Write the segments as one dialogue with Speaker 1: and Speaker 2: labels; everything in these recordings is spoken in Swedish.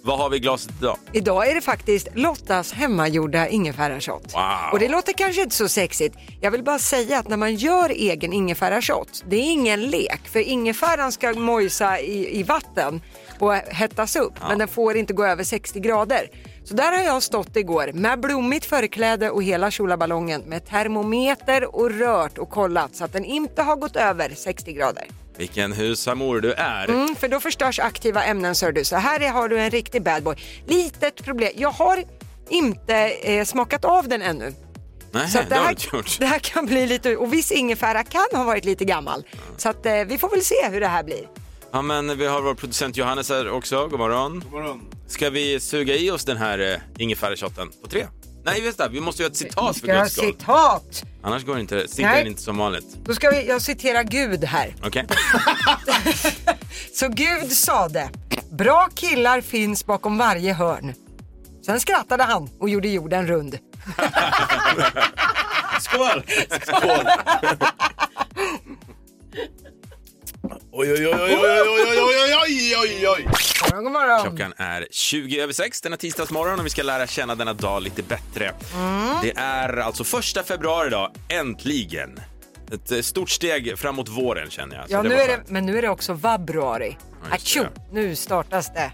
Speaker 1: Vad har vi i glaset idag?
Speaker 2: Idag är det faktiskt Lottas hemmagjorda ingefärashot.
Speaker 1: Wow.
Speaker 2: Och det låter kanske inte så sexigt. Jag vill bara säga att när man gör egen ingefärashot, det är ingen lek. För ingefäran ska mojsa i, i vatten och hettas upp, men den får inte gå över 60 grader. Så där har jag stått igår med blommigt förkläde och hela kjolaballongen med termometer och rört och kollat så att den inte har gått över 60 grader.
Speaker 1: Vilken husamor du är.
Speaker 2: Mm, för då förstörs aktiva ämnen, sör du. Så här är- har du en riktig bad boy. Litet problem. Jag har inte eh, smakat av den ännu.
Speaker 1: Nej,
Speaker 2: Så att
Speaker 1: det
Speaker 2: det,
Speaker 1: har du
Speaker 2: här,
Speaker 1: inte gjort.
Speaker 2: det här kan bli lite... Och viss ingefära kan ha varit lite gammal. Så att, eh, vi får väl se hur det här blir.
Speaker 1: Ja, men vi har vår producent Johannes här också. God morgon. Ska vi suga i oss den här eh, ingefärashotten på tre? Nej, vänta. Vi måste göra ett citat för
Speaker 2: Ska jag
Speaker 1: guds skull.
Speaker 2: citat?
Speaker 1: Annars går det inte. Sitter
Speaker 2: Nej.
Speaker 1: den inte som vanligt.
Speaker 2: Då ska vi, jag citera Gud här.
Speaker 1: Okej?
Speaker 2: Så Gud sade, bra killar finns bakom varje hörn. Sen skrattade han och gjorde jorden rund.
Speaker 1: Skål!
Speaker 3: Oj, oj, oj, oj, oj, oj, oj, oj, oj, oj, oj.
Speaker 2: God morgon, God morgon.
Speaker 1: Klockan är 20 över 6 denna tisdagsmorgon och vi ska lära känna denna dag lite bättre.
Speaker 2: Mm.
Speaker 1: Det är alltså första februari idag, äntligen. Ett eh, stort steg framåt våren känner jag. Så
Speaker 2: Ja,
Speaker 1: det
Speaker 2: nu
Speaker 1: var
Speaker 2: är det,
Speaker 1: skönt.
Speaker 2: men nu är det också vabruari.
Speaker 1: Ja, just det.
Speaker 2: Atjo, nu startas det.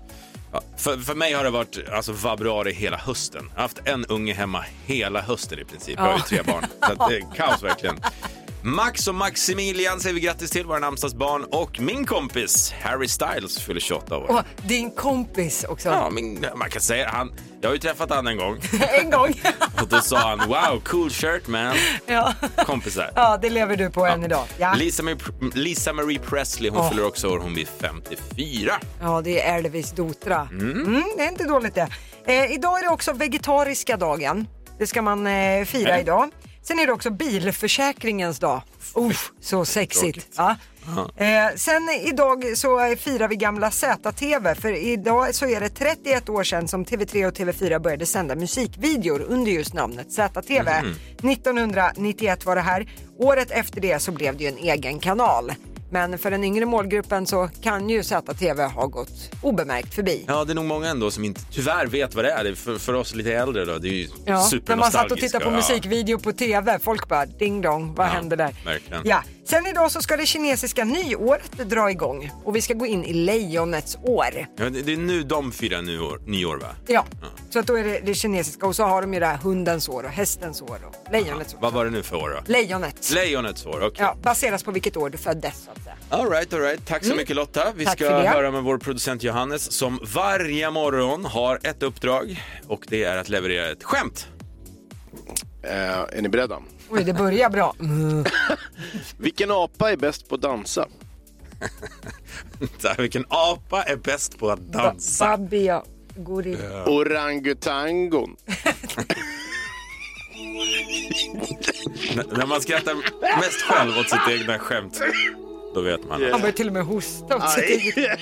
Speaker 1: Ja, för, för mig har det varit alltså, februari hela hösten. Jag har haft en unge hemma hela hösten i princip. Jag har ju
Speaker 2: Ja.
Speaker 1: tre barn. Så att det är kaos verkligen. Max och Maximilian säger vi grattis till, våra namnsdagsbarn. Och min kompis Harry Styles fyller 28 år.
Speaker 2: Och din kompis också.
Speaker 1: Ja, min, man kan säga han. Jag har ju träffat han en gång.
Speaker 2: En gång.
Speaker 1: Och då sa han wow, cool shirt man.
Speaker 2: ja.
Speaker 1: Kompisar.
Speaker 2: ja, det lever du på än idag. Ja.
Speaker 1: Lisa, Marie, Lisa Marie Presley, hon
Speaker 2: Åh.
Speaker 1: fyller också år, hon blir 54.
Speaker 2: ja, det är Elvis Dotra. Mm. det är inte dåligt det. Eh, idag är det också vegetariska dagen. Det ska man eh, fira
Speaker 1: Nej.
Speaker 2: idag. Sen är det också bilförsäkringens dag. Uff, så sexigt.
Speaker 1: Tråkigt.
Speaker 2: Ja. Eh, sen idag så eh, firar vi gamla ZTV för idag så är det 31 år sedan som TV3 och TV4 började sända musikvideor under just namnet ZTV. 1991 var det här. Året efter det så blev det ju en egen kanal. Men för den yngre målgruppen så kan ju ZTV ha gått obemärkt förbi.
Speaker 1: Ja, det är nog många ändå som inte tyvärr vet vad det är. Det är för, för oss lite äldre då, det är ju
Speaker 2: Ja,
Speaker 1: supernostalgiskt.
Speaker 2: när man satt och tittade på
Speaker 1: Ja.
Speaker 2: musikvideo på TV, folk bara ding dong, vad
Speaker 1: Ja,
Speaker 2: hände där?
Speaker 1: verkligen.
Speaker 2: Ja. Sen idag så ska det kinesiska nyåret dra igång och vi ska gå in i lejonets år.
Speaker 1: Ja, det, det är nu de firar nyår, nyår va?
Speaker 2: Ja, så att då är det det kinesiska och så har de ju det här hundens år och hästens år och lejonets år.
Speaker 1: Vad var det nu för år då?
Speaker 2: Lejonet.
Speaker 1: Lejonets år, okej.
Speaker 2: Ja, baseras på vilket år du föddes så att säga.
Speaker 1: All right, all right. Tack så mycket Lotta. Vi
Speaker 2: Mm. Tack
Speaker 1: ska
Speaker 2: för det.
Speaker 1: höra med vår producent Johannes som varje morgon har ett uppdrag och det är att leverera ett skämt.
Speaker 3: Eh, Är ni beredda?
Speaker 2: Oj, det börjar bra. Mm.
Speaker 3: Vilken apa är bäst på att dansa?
Speaker 1: Så här, Vilken apa är bäst på att dansa?
Speaker 2: Sabia gorilla.
Speaker 3: Orangutangon.
Speaker 1: N- när man skrattar mest själv åt sitt egna skämt, då vet man.
Speaker 2: Han börjar till och med hosta åt sitt
Speaker 3: Aj.
Speaker 2: eget.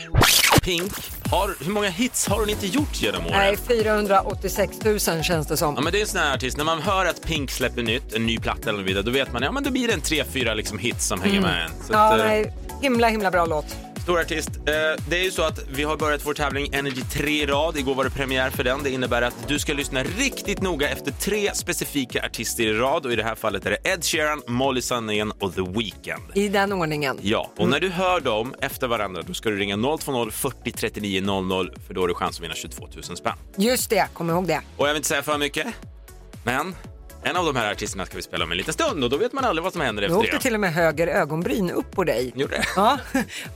Speaker 1: Pink, har, hur många hits har hon inte gjort genom åren?
Speaker 2: Nej, 486 000 känns det
Speaker 1: Ja,
Speaker 2: som.
Speaker 1: men det är en sån här artist, när man hör att Pink släpper nytt, en ny platta eller något vidare, då vet man ja, men då blir det en tre, fyra liksom hits som hänger med en. Så
Speaker 2: Mm. Ja,
Speaker 1: att, eh,
Speaker 2: nej, himla himla bra låt.
Speaker 1: Stor artist. Eh, Det är ju så att vi har börjat vår tävling Energy 3 i rad. Igår var det premiär för den. Det innebär att du ska lyssna riktigt noga efter tre specifika artister i rad och i det här fallet är det Ed Sheeran, Molly Sandén och The Weeknd.
Speaker 2: I den ordningen.
Speaker 1: Ja, och när du hör dem efter varandra då ska du ringa 020 40 39 00 för då har du chans att vinna 22 000 spänn.
Speaker 2: Just det, kom ihåg det.
Speaker 1: Och jag vill inte säga för mycket, men en av de här artisterna ska vi spela om en liten stund och då vet man aldrig vad som händer
Speaker 2: Nu
Speaker 1: efter
Speaker 2: åkte
Speaker 1: det.
Speaker 2: till och med höger ögonbryn upp på dig.
Speaker 1: Gjorde det?
Speaker 2: Ja,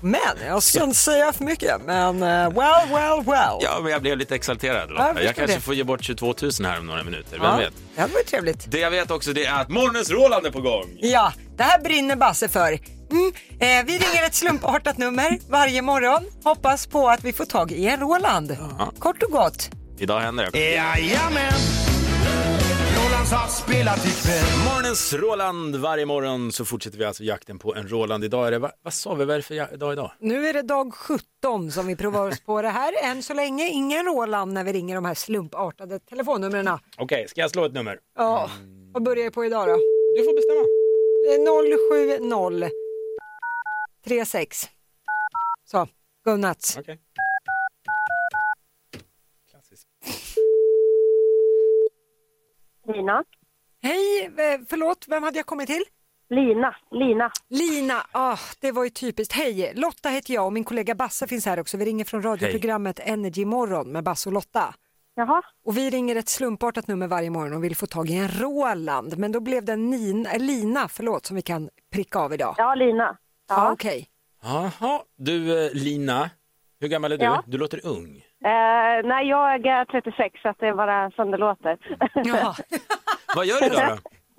Speaker 2: men jag ska inte säga för mycket, men eh, well, well, well.
Speaker 1: Ja, men jag blev lite exalterad.
Speaker 2: jag
Speaker 1: Lotta. jag
Speaker 2: förstår
Speaker 1: kanske
Speaker 2: det.
Speaker 1: får ge bort 22 000 här om några minuter, vem
Speaker 2: Ja,
Speaker 1: vet?
Speaker 2: Det hade varit trevligt.
Speaker 1: Det jag vet också det är att morgonens Roland är på gång.
Speaker 2: Ja, det här brinner Basse för. Mm, eh, vi ringer ett slumpartat nummer varje morgon. Hoppas på att vi får tag i en Roland. Kort och gott.
Speaker 1: Idag händer det.
Speaker 4: Jajamän! Rolands har spelat ikväll.
Speaker 1: Morgonens Roland. Varje morgon så fortsätter vi alltså jakten på en Roland. Idag är det, vad, vad sa vi, vad är det för ja- dag idag?
Speaker 2: Nu är det dag 17 som vi provar oss på det här. Än så länge ingen Roland när vi ringer de här slumpartade telefonnumren.
Speaker 1: Okej, ska jag slå ett nummer?
Speaker 2: Ja, vad börjar jag på idag då?
Speaker 1: Du får bestämma.
Speaker 2: Eh, 070 36. Så, godnatt.
Speaker 1: Okej.
Speaker 5: Lina.
Speaker 2: Hej, eh, förlåt, vem hade jag kommit till?
Speaker 5: Lina, Lina.
Speaker 2: Lina, ah, det var ju typiskt. Hej, Lotta heter jag och min kollega Basse finns här också. Vi ringer från radioprogrammet Energy Morgon med Basse och Lotta.
Speaker 5: Jaha.
Speaker 2: Och vi ringer ett slumpartat nummer varje morgon och vill få tag i en Roland. Men då blev det Nina, eh, Lina förlåt, som vi kan pricka av idag.
Speaker 5: Ja, Lina.
Speaker 2: Ah,
Speaker 5: Ja.
Speaker 2: Okej,
Speaker 1: Jaha, du eh, Lina, hur gammal är du?
Speaker 5: Ja.
Speaker 1: Du låter ung.
Speaker 5: Eh, nej, jag är 36 så att det är bara som det låter.
Speaker 2: Jaha.
Speaker 1: Vad gör du idag då?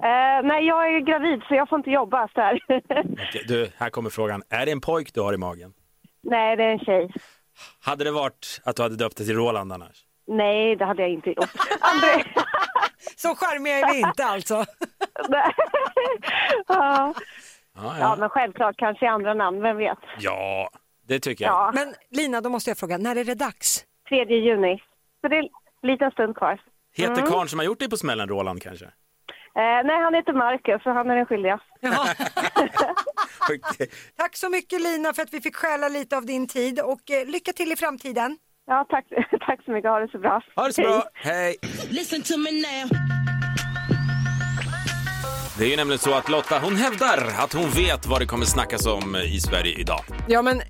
Speaker 5: Eh, nej, jag är gravid så jag får inte jobba så här.
Speaker 1: Okej, Du, här kommer frågan. Är det en pojk du har i magen?
Speaker 5: nej, det är en tjej.
Speaker 1: Hade det varit att du hade döpt dig till Roland annars?
Speaker 5: Nej, det hade jag inte gjort. André.
Speaker 2: så charmiga är vi inte alltså.
Speaker 5: Nej. ja.
Speaker 1: Ja,
Speaker 5: ja,
Speaker 1: ja.
Speaker 5: men självklart kanske i andra namn, vem vet.
Speaker 1: ja det tycker jag.
Speaker 5: Ja,
Speaker 2: Men Lina, då måste jag fråga, när är det dags?
Speaker 5: 3 juni. Så det är en liten stund kvar.
Speaker 1: Heter
Speaker 5: Mm.
Speaker 1: karln som har gjort dig på smällen Roland kanske?
Speaker 5: Eh, nej, han heter Marcus och han är den skyldiga.
Speaker 2: Jaha.
Speaker 1: Okej.
Speaker 2: Tack så mycket Lina för att vi fick stjäla lite av din tid och eh, lycka till i framtiden.
Speaker 5: Ja, tack, tack så mycket. Ha det så bra.
Speaker 1: Ha det så
Speaker 5: Hej.
Speaker 1: bra, hej!
Speaker 6: Listen to me now.
Speaker 1: Det är ju nämligen så att Lotta, hon hävdar att hon vet vad det kommer snackas om i Sverige idag.
Speaker 2: Ja, men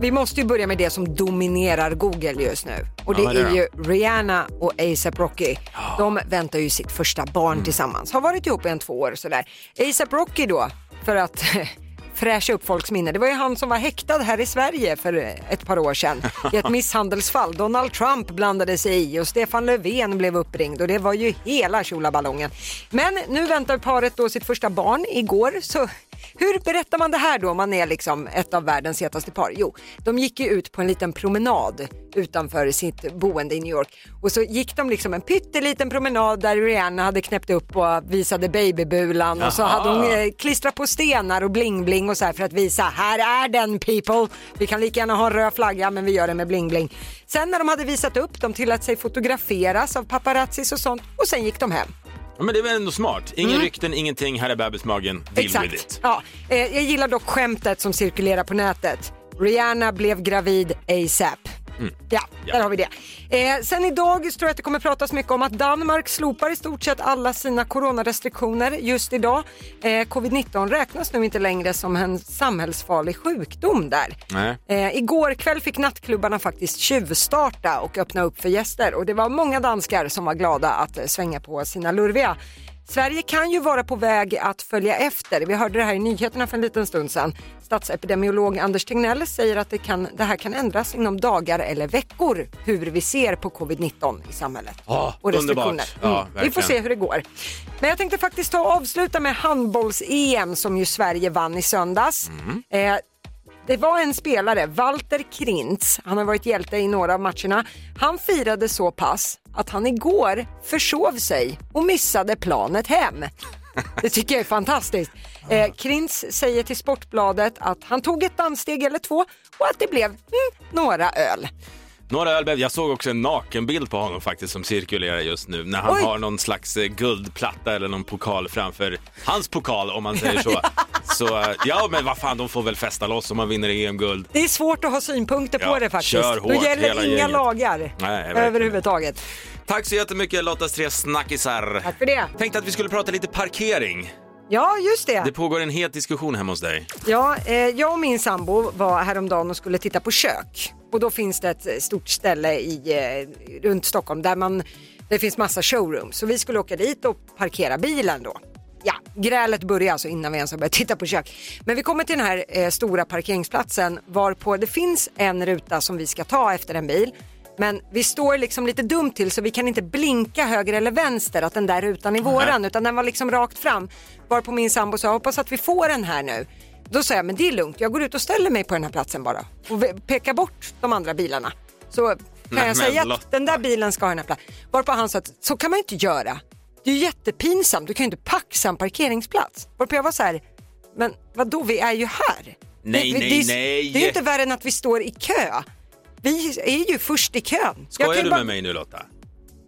Speaker 2: vi måste ju börja med det som dominerar Google just nu. Och det
Speaker 1: Ja, vad är det
Speaker 2: är ju Rihanna och ASAP Rocky. De väntar ju sitt första barn
Speaker 1: Mm.
Speaker 2: tillsammans. Har varit ihop i en två år och sådär. ASAP Rocky då, för att fräscha upp folks minne. Det var ju han som var häktad här i Sverige för ett par år sedan i ett misshandelsfall. Donald Trump blandade sig i och Stefan Löfven blev uppringd och det var ju hela tjolaballongen. Men nu väntar paret då sitt första barn igår så hur berättar man det här då om man är liksom ett av världens hetaste par? Jo, de gick ju ut på en liten promenad utanför sitt boende i New York och så gick de liksom en pytteliten promenad där Rihanna hade knäppt upp och visade babybulan och så
Speaker 1: Jaha.
Speaker 2: hade hon eh, klistrat på stenar och bling-bling och så här för att visa här är den people. Vi kan lika gärna ha en röd flagga men vi gör det med bling-bling. Sen när de hade visat upp dem tillät sig fotograferas av paparazzis och sånt och sen gick de hem.
Speaker 1: Ja, men det är väl ändå smart. Ingen
Speaker 2: Mm.
Speaker 1: rykten, ingenting. Här är bebismagen. Deal with it.
Speaker 2: Ja, eh, jag gillar dock skämtet som cirkulerar på nätet. Rihanna blev gravid ASAP. Ja, där har vi det. Eh, sen idag så tror jag att det kommer pratas mycket om att Danmark slopar i stort sett alla sina coronarestriktioner just idag. Eh, Covid-19 räknas nu inte längre som en samhällsfarlig sjukdom där.
Speaker 1: Nej.
Speaker 2: Eh, igår kväll fick nattklubbarna faktiskt tjuvstarta och öppna upp för gäster och det var många danskar som var glada att eh, svänga på sina lurviga. Sverige kan ju vara på väg att följa efter. Vi hörde det här i nyheterna för en liten stund sedan. Statsepidemiolog Anders Tegnell säger att det, kan, det här kan ändras inom dagar eller veckor hur vi ser på covid-19 i samhället.
Speaker 1: Ja,
Speaker 2: och restriktioner. Mm.
Speaker 1: underbart. Ja,
Speaker 2: Vi får
Speaker 1: verkligen.
Speaker 2: se hur det går. Men jag tänkte faktiskt ta och avsluta med handbolls-EM som ju Sverige vann i söndags.
Speaker 1: Mm.
Speaker 2: Eh, det var en spelare, Walter Krintz, han har varit hjälte i några av matcherna. Han firade så pass att han igår försov sig och missade planet hem. Det tycker jag är fantastiskt. Eh, Krintz säger till Sportbladet att han tog ett danssteg eller två och att det blev mm, några öl.
Speaker 1: Några ölbäv. Jag såg också en nakenbild på honom faktiskt som cirkulerar just nu när han
Speaker 2: Oj.
Speaker 1: har någon slags eh, guldplatta eller någon pokal framför hans pokal om man säger så. så eh, ja, men vad fan, de får väl festa loss om man vinner EM-guld.
Speaker 2: Det är svårt att ha synpunkter
Speaker 1: Ja,
Speaker 2: på det faktiskt.
Speaker 1: kör
Speaker 2: Då
Speaker 1: hårt, hela
Speaker 2: gäller inga
Speaker 1: gänget.
Speaker 2: lagar
Speaker 1: verkligen.
Speaker 2: överhuvudtaget.
Speaker 1: Tack så jättemycket Lottas tre snackisar.
Speaker 2: Tack för det.
Speaker 1: Tänkte att vi skulle prata lite parkering.
Speaker 2: Ja, just det.
Speaker 1: Det pågår en het diskussion hemma hos dig.
Speaker 2: Ja, eh, jag och min sambo var häromdagen och skulle titta på kök. Och då finns det ett stort ställe i, eh, runt Stockholm där man, det finns massa showrooms. Så vi skulle åka dit och parkera bilen då. Ja, grälet började alltså innan vi ens har börjat titta på kök. Men vi kommer till den här eh, stora parkeringsplatsen varpå det finns en ruta som vi ska ta efter en bil. Men vi står liksom lite dumt till så vi kan inte blinka höger eller vänster att den där rutan är våran utan den var liksom rakt fram. Varpå min sambo sa hoppas att vi får den här nu. Då sa jag men det är lugnt jag går ut och ställer mig på den här platsen bara och ve- pekar bort de andra bilarna. Så kan
Speaker 1: Nej,
Speaker 2: jag
Speaker 1: men
Speaker 2: säga att
Speaker 1: Lotta.
Speaker 2: den där bilen ska ha den här platsen. Varpå han sa att så kan man ju inte göra. Det är ju jättepinsamt, du kan ju inte paxa en parkeringsplats. Varpå jag var så här, men vadå vi är ju här.
Speaker 1: Nej,
Speaker 2: det,
Speaker 1: nej,
Speaker 2: det, är-
Speaker 1: nej.
Speaker 2: Det är ju inte värre än att vi står i kö. Vi är ju först i kön. Jag kan ju
Speaker 1: Skojar du
Speaker 2: bara-
Speaker 1: med mig nu Lotta?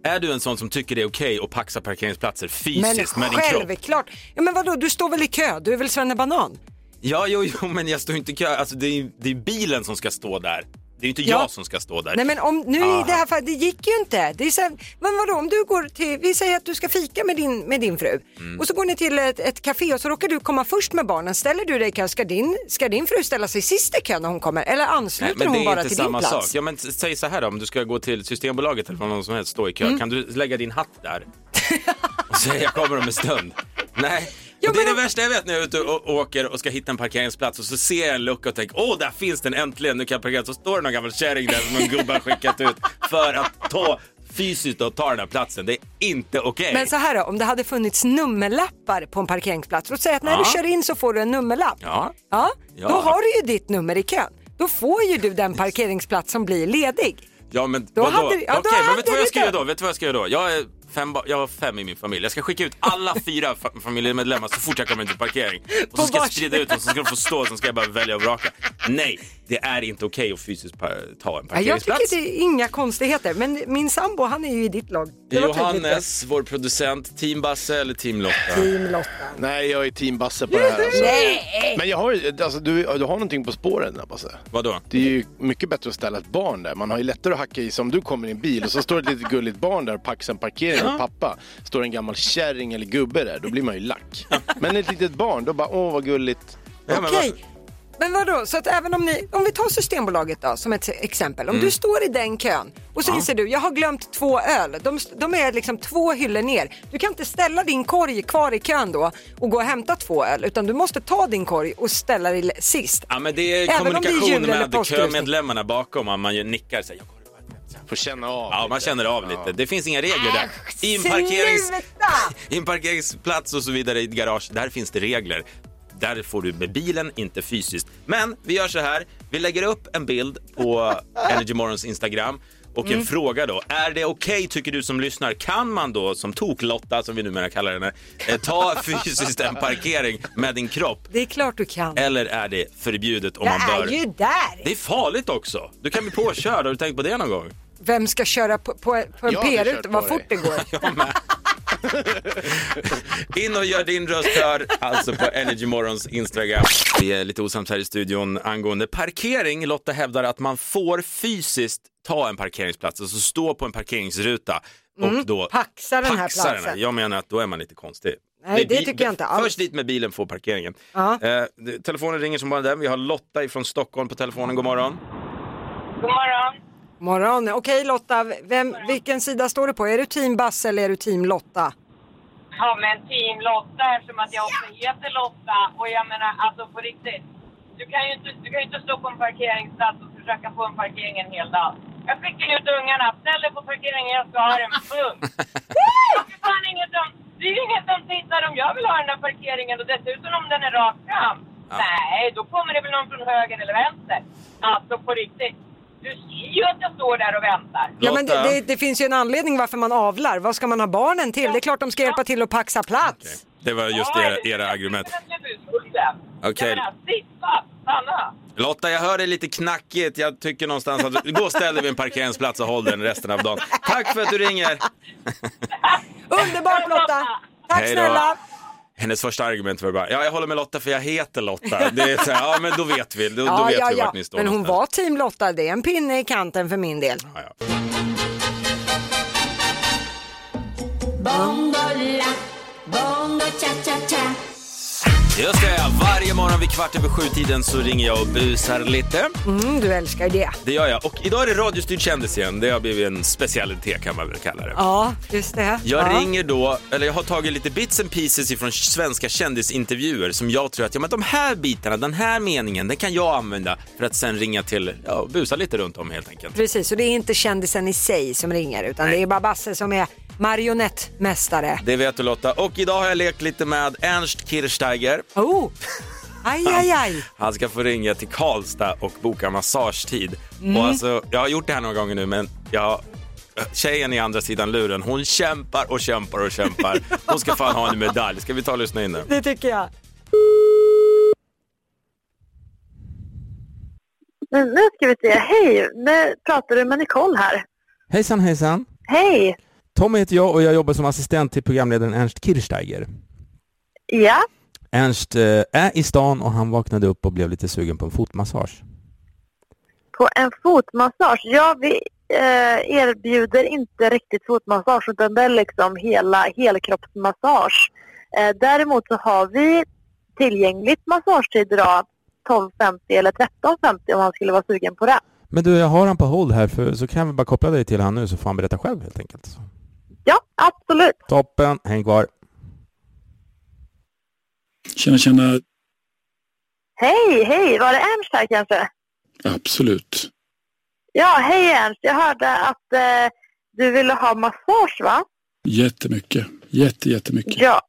Speaker 1: Är du en sån som tycker det är okej att paxa parkeringsplatser
Speaker 2: Men
Speaker 1: fysiskt med din kropp?
Speaker 2: självklart. Ja, men vadå, du står väl i kö? Du är väl Banan?
Speaker 1: Ja, jo, jo, men jag står inte i kö. Alltså, det är ju det är bilen som ska stå där. Det är ju inte
Speaker 2: Ja.
Speaker 1: jag som ska stå där.
Speaker 2: Nej men om, nu i
Speaker 1: Ah.
Speaker 2: det här fallet, det gick ju inte. Det är så här, men vadå om du går till, vi säger att du ska fika med din, med din fru
Speaker 1: Mm.
Speaker 2: och så går ni till ett, ett café och så råkar du komma först med barnen. Ställer du dig i kö, ska din, ska din fru ställa sig sist i kön när hon kommer? Eller
Speaker 1: Nej,
Speaker 2: ansluter
Speaker 1: men det
Speaker 2: hon
Speaker 1: är
Speaker 2: bara
Speaker 1: inte
Speaker 2: till
Speaker 1: samma
Speaker 2: din plats?
Speaker 1: sak. Ja, men s- säg så här då, om du ska gå till Systembolaget eller vad någon som helst, stå i kö.
Speaker 2: Mm.
Speaker 1: Kan du lägga din hatt där? Och säga jag kommer om en stund. Nej.
Speaker 2: Ja,
Speaker 1: och det är
Speaker 2: men
Speaker 1: det
Speaker 2: om-
Speaker 1: värsta jag vet när jag är ute och åker och ska hitta en parkeringsplats och så ser jag en lucka och tänker åh där finns den äntligen, nu kan jag parkera. Så står det någon gammal kärring där som en gubbe har skickat ut för att ta fysiskt och ta den här platsen. Det är inte okej.
Speaker 2: Men så här då, om det hade funnits nummerlappar på en parkeringsplats, låt säga att när
Speaker 1: Ja.
Speaker 2: du kör in så får du en nummerlapp.
Speaker 1: Ja.
Speaker 2: Ja,
Speaker 1: Ja.
Speaker 2: Då har du ju ditt nummer i kön. Då får ju du den parkeringsplats som blir ledig.
Speaker 1: Ja men
Speaker 2: Då
Speaker 1: vadå?
Speaker 2: hade du- ja, då
Speaker 1: Okej, men
Speaker 2: hade
Speaker 1: vet du vad
Speaker 2: du
Speaker 1: jag ska
Speaker 2: det.
Speaker 1: göra då? Vet du vad jag ska göra då? Jag, är fem, ba- jag har fem i min familj. Jag ska skicka ut alla fyra fa- familjemedlemmar så fort jag kommer till parkering. Och så
Speaker 2: På
Speaker 1: ska jag
Speaker 2: varsin.
Speaker 1: sprida ut dem så ska de få stå och så ska jag bara välja och vraka. Nej, det är inte okej att fysiskt pa- ta en
Speaker 2: Ja, Jag tycker
Speaker 1: parkeringsplats.
Speaker 2: det är inga konstigheter, men min sambo han är ju i ditt lag. Det var tydligt det.
Speaker 1: Johannes, vår producent, team Basse eller team Lotta?
Speaker 2: Team Lotta.
Speaker 3: Nej, jag är team Basse på det här alltså.
Speaker 2: Nej!
Speaker 3: Men jag har ju- alltså, du, du har någonting på spåren där Basse.
Speaker 1: Vadå?
Speaker 3: Det är ju mycket bättre att ställa ett barn där. Man har ju lättare att hacka i sig om du kommer i en bil och så står ett litet gulligt barn där och paxar en parkering och pappa. Står en gammal kärring eller gubbe där, då blir man ju lack. Men ett litet barn, då bara åh vad gulligt.
Speaker 1: Ja, men
Speaker 2: Okej.
Speaker 1: vad-
Speaker 2: Men vadå, så att även om ni, om vi tar Systembolaget då som ett exempel. Om
Speaker 1: Mm.
Speaker 2: du står i den kön och så inser du, jag har glömt två öl. De, de är liksom två hyllor ner. Du kan inte ställa din korg kvar i kön då och gå och hämta två öl, utan du måste ta din korg och ställa dig sist.
Speaker 1: Ja, men det är
Speaker 2: Även om det är jul
Speaker 1: kommunikation
Speaker 2: eller
Speaker 1: med
Speaker 2: påskryssning.
Speaker 1: kömedlemmarna bakom. och Man ju nickar så här, jag går i parkeringsplats."
Speaker 3: Får känna av
Speaker 1: Ja,
Speaker 3: lite.
Speaker 1: man känner av lite. Det finns inga regler där. I en,
Speaker 2: Äh, Sluta!
Speaker 1: parkerings... I en parkeringsplats och så vidare i ett garage, där finns det regler. Där får du med bilen, inte fysiskt. Men vi gör så här, vi lägger upp en bild på Energy Morgons Instagram och
Speaker 2: Mm.
Speaker 1: en fråga då. Är det okej, tycker du som lyssnar, kan man då som tok-Lotta, som vi numera kallar henne, eh, ta fysiskt en parkering med din kropp?
Speaker 2: Det är klart du kan.
Speaker 1: Eller är det förbjudet om
Speaker 2: Jag
Speaker 1: man bör?
Speaker 2: är ju där!
Speaker 1: Det är farligt också! Du kan bli påkörd, har du tänkt på det någon gång?
Speaker 2: Vem ska köra på, på, på en
Speaker 3: Jag hade kört
Speaker 2: p-ruta
Speaker 3: på
Speaker 2: vad
Speaker 3: dig.
Speaker 2: fort det går?
Speaker 1: In och gör din röst hörd, alltså på Energy Morgons Instagram. Vi är lite osams här i studion angående parkering. Lotta hävdar att man får fysiskt ta en parkeringsplats, alltså stå på en parkeringsruta och då
Speaker 2: Mm, paxa den här
Speaker 1: paxa
Speaker 2: platsen.
Speaker 1: Jag menar att då är man lite konstig.
Speaker 2: Nej, det
Speaker 1: bi-
Speaker 2: tycker jag inte alls.
Speaker 1: Först dit med bilen, får parkeringen.
Speaker 2: Ja.
Speaker 1: Eh, det- telefonen ringer som bara den. Vi har Lotta ifrån Stockholm på telefonen. God morgon.
Speaker 5: God morgon.
Speaker 2: Morgon. Okej Lotta, vem, vilken sida står du på? Är du team Basse eller är du team Lotta?
Speaker 5: Ja, men team Lotta eftersom att jag också heter Lotta. Och jag menar, alltså på riktigt. Du kan ju inte, du kan ju inte stå på en parkeringsplats och försöka få en parkering en hel dag. Jag skickar ut ungarna. Ställ dig på parkeringen, jag ska ha den. Punkt. Det är fan inget om... Det är ju inget som tittar om jag vill ha den här parkeringen och dessutom om den är rakt fram.
Speaker 1: Ja.
Speaker 5: Nej, då kommer det väl någon från höger eller vänster. Alltså på riktigt. Du ser ju att jag står där och väntar.
Speaker 2: Ja, men det,
Speaker 1: Lotta.
Speaker 2: det, det finns ju en anledning varför man avlar. Vad ska man ha barnen till? Det är klart de ska hjälpa till att paxa plats.
Speaker 1: Okej. Det var just era, era argument. Okej.
Speaker 5: Okej. Sista, stanna.
Speaker 1: Lotta, jag hör det lite knackigt. Jag tycker någonstans att gå och ställ dig vid en parkeringsplats och håll den resten av dagen. Tack för att du ringer.
Speaker 2: Underbart Lotta! Tack
Speaker 1: Hej då.
Speaker 2: snälla!
Speaker 1: Hennes första argument var bara, ja jag håller med Lotta för jag heter Lotta. Det är så här, ja men då vet vi, då, då
Speaker 2: Ja,
Speaker 1: vet
Speaker 2: ja,
Speaker 1: vi
Speaker 2: ja.
Speaker 1: vart ni står
Speaker 2: Men hon
Speaker 1: någonstans.
Speaker 2: var team Lotta. Det är en pinne i kanten för min del.
Speaker 1: Ja, ja.
Speaker 6: Bongo la, bongo cha cha cha.
Speaker 1: Just det, varje morgon vid kvart över sju-tiden så ringer jag och busar lite.
Speaker 2: Mm, du älskar ju det.
Speaker 1: Det gör jag. Och idag är det radiostyrd kändis igen. Det har blivit en specialitet kan man väl kalla det.
Speaker 2: Ja, just det.
Speaker 1: Jag
Speaker 2: ja.
Speaker 1: ringer då, eller jag har tagit lite bits and pieces ifrån svenska kändisintervjuer som jag tror att ja, men de här bitarna, den här meningen, den kan jag använda för att sen ringa till, ja, och busa lite runt om helt enkelt.
Speaker 2: Precis, och det är inte kändisen i sig som ringer utan det är bara Basse som är marionettmästare.
Speaker 1: Det vet du Lotta. Och idag har jag lekt lite med Ernst Kirchsteiger.
Speaker 2: Oh! Aj, aj, aj.
Speaker 1: Han ska få ringa till Karlstad och boka massagetid. Och alltså, jag har gjort det här några gånger nu, men jag, eh, tjejen i andra sidan luren, hon kämpar och kämpar och kämpar. Hon ska fan ha en medalj. Ska vi ta och lyssna in nu?
Speaker 2: Det tycker jag.
Speaker 7: Men nu ska vi se. Hej, nu pratar du med Nicole här.
Speaker 8: Hejsan hejsan!
Speaker 7: Hej!
Speaker 8: Tommy heter jag och jag jobbar som assistent till programledaren Ernst Kirchsteiger.
Speaker 7: Ja,
Speaker 8: Ernst eh, är i stan och han vaknade upp och blev lite sugen på en fotmassage.
Speaker 7: på en fotmassage. Ja, vi eh, erbjuder inte riktigt fotmassage utan det är liksom hela helkroppsmassage. Eh, däremot så har vi tillgängligt massagetid idag 12.50 eller 13.50 om man skulle vara sugen på det.
Speaker 8: Men du, jag har han på hold här, för, så kan vi bara koppla dig till han nu så får han berätta själv helt enkelt. Så.
Speaker 7: Ja, absolut.
Speaker 8: Toppen, häng kvar.
Speaker 9: Tjena, tjena.
Speaker 7: Hej, hej, var det Ernst här kanske?
Speaker 9: Absolut.
Speaker 7: Ja, hej Ernst. Jag hörde att eh, du ville ha massage va?
Speaker 9: Jättemycket. Jätte, jättemycket.
Speaker 7: Ja.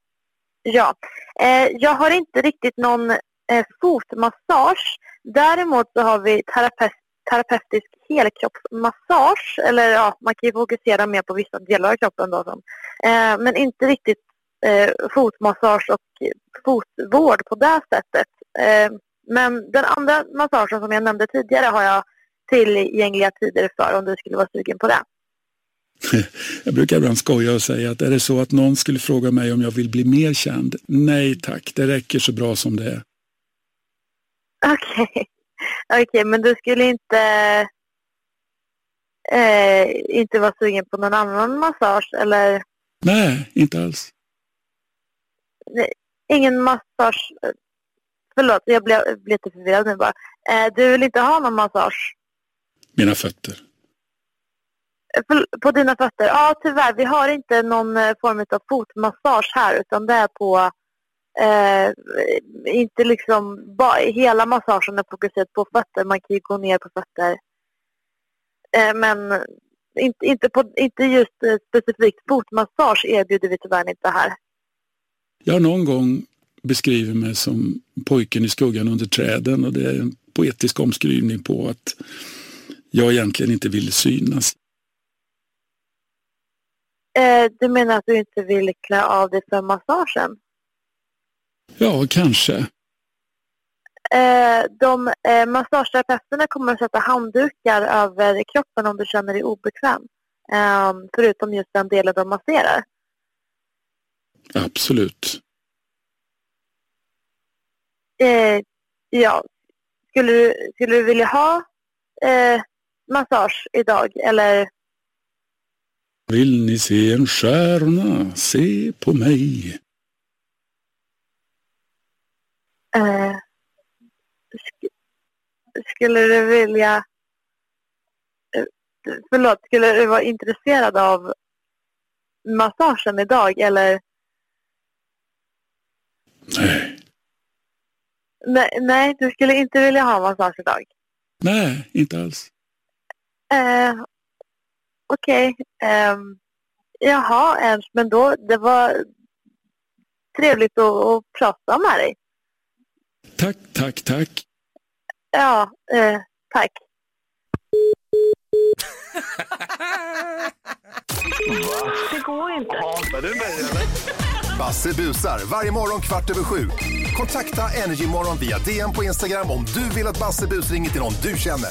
Speaker 7: ja. Eh, jag har inte riktigt någon eh, fotmassage. Däremot så har vi terape- terapeutisk helkroppsmassage. Eller ja, man kan ju fokusera mer på vissa delar av kroppen då. Som. Eh, men inte riktigt eh, fotmassage och fotvård på det sättet. Eh, men den andra massagen som jag nämnde tidigare har jag tillgängliga tider för om du skulle vara sugen på det.
Speaker 9: Jag brukar ibland skoja och säga att är det så att någon skulle fråga mig om jag vill bli mer känd? Nej tack, det räcker så bra som det är.
Speaker 7: Okej, okej, men du skulle inte, eh, inte vara sugen på någon annan massage eller
Speaker 9: Nej, inte alls.
Speaker 7: ingen massage? eh, Förlåt, jag blev, jag blev lite förvirrad nu bara. Eh, du vill inte ha någon massage
Speaker 9: Mina fötter.
Speaker 7: Eh, förl- på dina fötter? Ja, tyvärr. Vi har inte någon eh, form av fotmassage här utan det är på Eh, inte liksom, ba, hela massagen är fokuserad på fötter. Man kan ju gå ner på fötter. Eh, men inte, inte, på, inte just eh, specifikt fotmassage erbjuder vi tyvärr inte här.
Speaker 9: Jag har någon gång beskrivit mig som pojken i skuggan under träden och det är en poetisk omskrivning på att jag egentligen inte ville synas.
Speaker 7: Eh, du menar att du inte vill klä av dig för massagen?
Speaker 9: Ja, kanske.
Speaker 7: Eh, de eh, massageterapeuterna kommer att sätta handdukar över kroppen om du känner dig obekväm. Eh, förutom just den delen de masserar.
Speaker 9: Absolut.
Speaker 7: Eh, ja. Skulle du, skulle du vilja ha eh, massage idag? Eller
Speaker 9: Vill ni se en stjärna? Se på mig.
Speaker 7: eh, sk- skulle du vilja... Eh, förlåt, skulle du vara intresserad av massagen idag? Eller
Speaker 9: Nej.
Speaker 7: nej, nej du skulle inte vilja ha massage idag?
Speaker 9: Nej, inte alls.
Speaker 7: Eh, Okej. ehm, jaha, Ernst, men då, det var trevligt att, att prata med dig.
Speaker 9: Tack, tack, tack.
Speaker 7: Ja, eh, tack.
Speaker 4: Basse busar varje morgon kvart över sju. Kontakta Energymorgon via DM på Instagram om du vill att Basse bus ringer till någon du känner.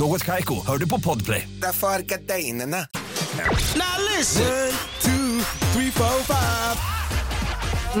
Speaker 10: Något Kaiko, hör du på Podplay.
Speaker 4: Därför är gardinerna.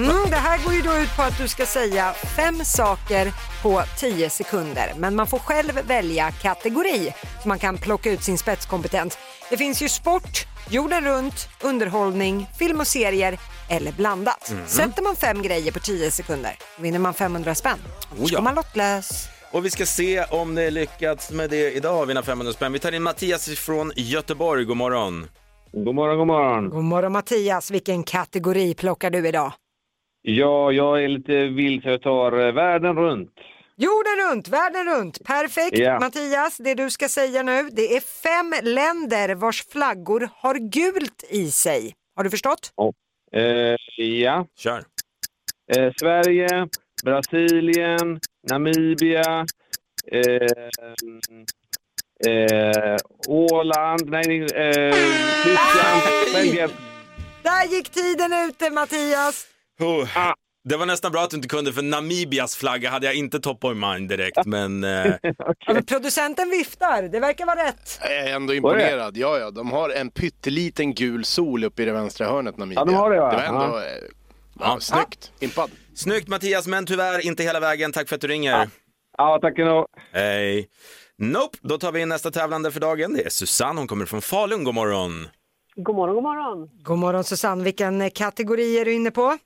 Speaker 2: Mm, det här går ju då ut på att du ska säga fem saker på 10 sekunder. Men man får själv välja kategori så man kan plocka ut sin spetskompetens. Det finns ju sport, jorden runt, underhållning, film och serier eller blandat.
Speaker 1: Mhm.
Speaker 2: Sätter man fem grejer på 10 sekunder vinner man 500 spänn.
Speaker 1: Oh ja.
Speaker 2: Då är man lottlös.
Speaker 1: Och vi ska se om det lyckats med det idag, vinna 500 spänn. Vi tar in Mattias från Göteborg, god morgon.
Speaker 10: God morgon, god morgon.
Speaker 2: God morgon Mattias, vilken kategori plockar du idag?
Speaker 10: Ja, jag är lite vild så jag tar världen runt.
Speaker 2: Jorden runt, världen runt. Perfekt.
Speaker 10: Ja.
Speaker 2: Mattias, det du ska säga nu, det är fem länder vars flaggor har gult i sig. Har du förstått?
Speaker 10: Eh, ja, Eh,
Speaker 1: Kör.
Speaker 10: Sverige, eh, Brasilien, Namibia,
Speaker 11: Eh, Åland, nej, eh, Tyskland. Belgien.
Speaker 2: Där gick tiden ute Mattias.
Speaker 1: Oh. Det var nästan bra att du inte kunde, för Namibias flagga hade jag inte top of mind direkt. Men, eh,
Speaker 2: Ja, men producenten viftar, det verkar vara rätt.
Speaker 3: Jag är ändå imponerad. Ja, ja, de har en pytteliten gul sol uppe i det vänstra hörnet, Namibia.
Speaker 1: Ja, de har det, va?
Speaker 3: Det var ändå...
Speaker 1: Ja.
Speaker 3: eh, Ja, snyggt. Impad.
Speaker 1: Snyggt Mattias, men tyvärr inte hela vägen. Tack för att du ringer. Ja,
Speaker 11: tack ändå.
Speaker 1: Hej. Nope, då tar vi in nästa tävlande för dagen. Det är Susanne, hon kommer från Falun. God morgon.
Speaker 12: God morgon, god morgon.
Speaker 2: God morgon Susanne, vilken eh, kategori är du inne på?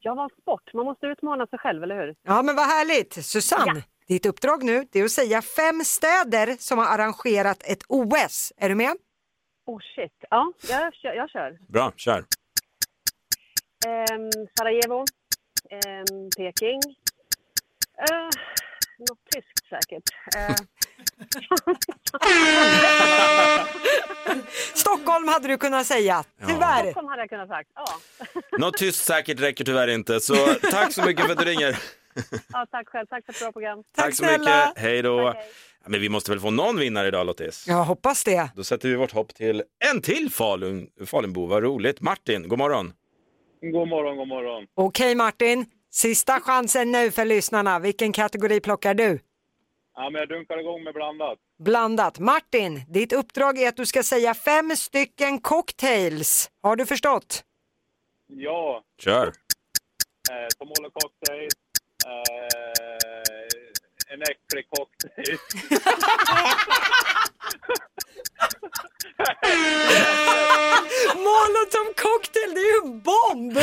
Speaker 12: Jag var sport. Man måste utmana sig själv, eller hur?
Speaker 2: Ja men vad härligt. Susanne, ditt uppdrag nu det är att säga fem städer som har arrangerat ett OS. Är du med?
Speaker 12: Oh shit. Ja, jag kör. Jag kör.
Speaker 1: Bra, kör.
Speaker 12: Ehm, Sarajevo, ehm, Peking, eh, något tyskt säkert. Eh,
Speaker 2: Stockholm hade du kunnat säga,
Speaker 1: Ja.
Speaker 2: tyvärr.
Speaker 12: Stockholm hade jag kunnat sagt. Ja,
Speaker 1: Något tyst säkert räcker tyvärr inte, så tack så mycket för att du ringer.
Speaker 12: ja tack själv. Tack för ett bra program.
Speaker 1: så mycket, hej då. Ja, Men vi måste väl få någon vinnare idag Lottis?
Speaker 2: Jag hoppas det.
Speaker 1: Då sätter vi vårt hopp till en till Falun, Falunbo, vad roligt. Martin, god morgon.
Speaker 11: God morgon, god morgon.
Speaker 2: Okej Martin, sista chansen nu för lyssnarna. Vilken kategori plockar du?
Speaker 11: Ja, men jag dunkar igång med blandat.
Speaker 2: Blandat. Martin, ditt uppdrag är att du ska säga fem stycken cocktails. Har du förstått?
Speaker 11: Ja,
Speaker 1: Kör.
Speaker 11: eh, Tomolo cocktail, eh, en äcklig cocktail.
Speaker 2: Molotov cocktail, det är ju en bomb!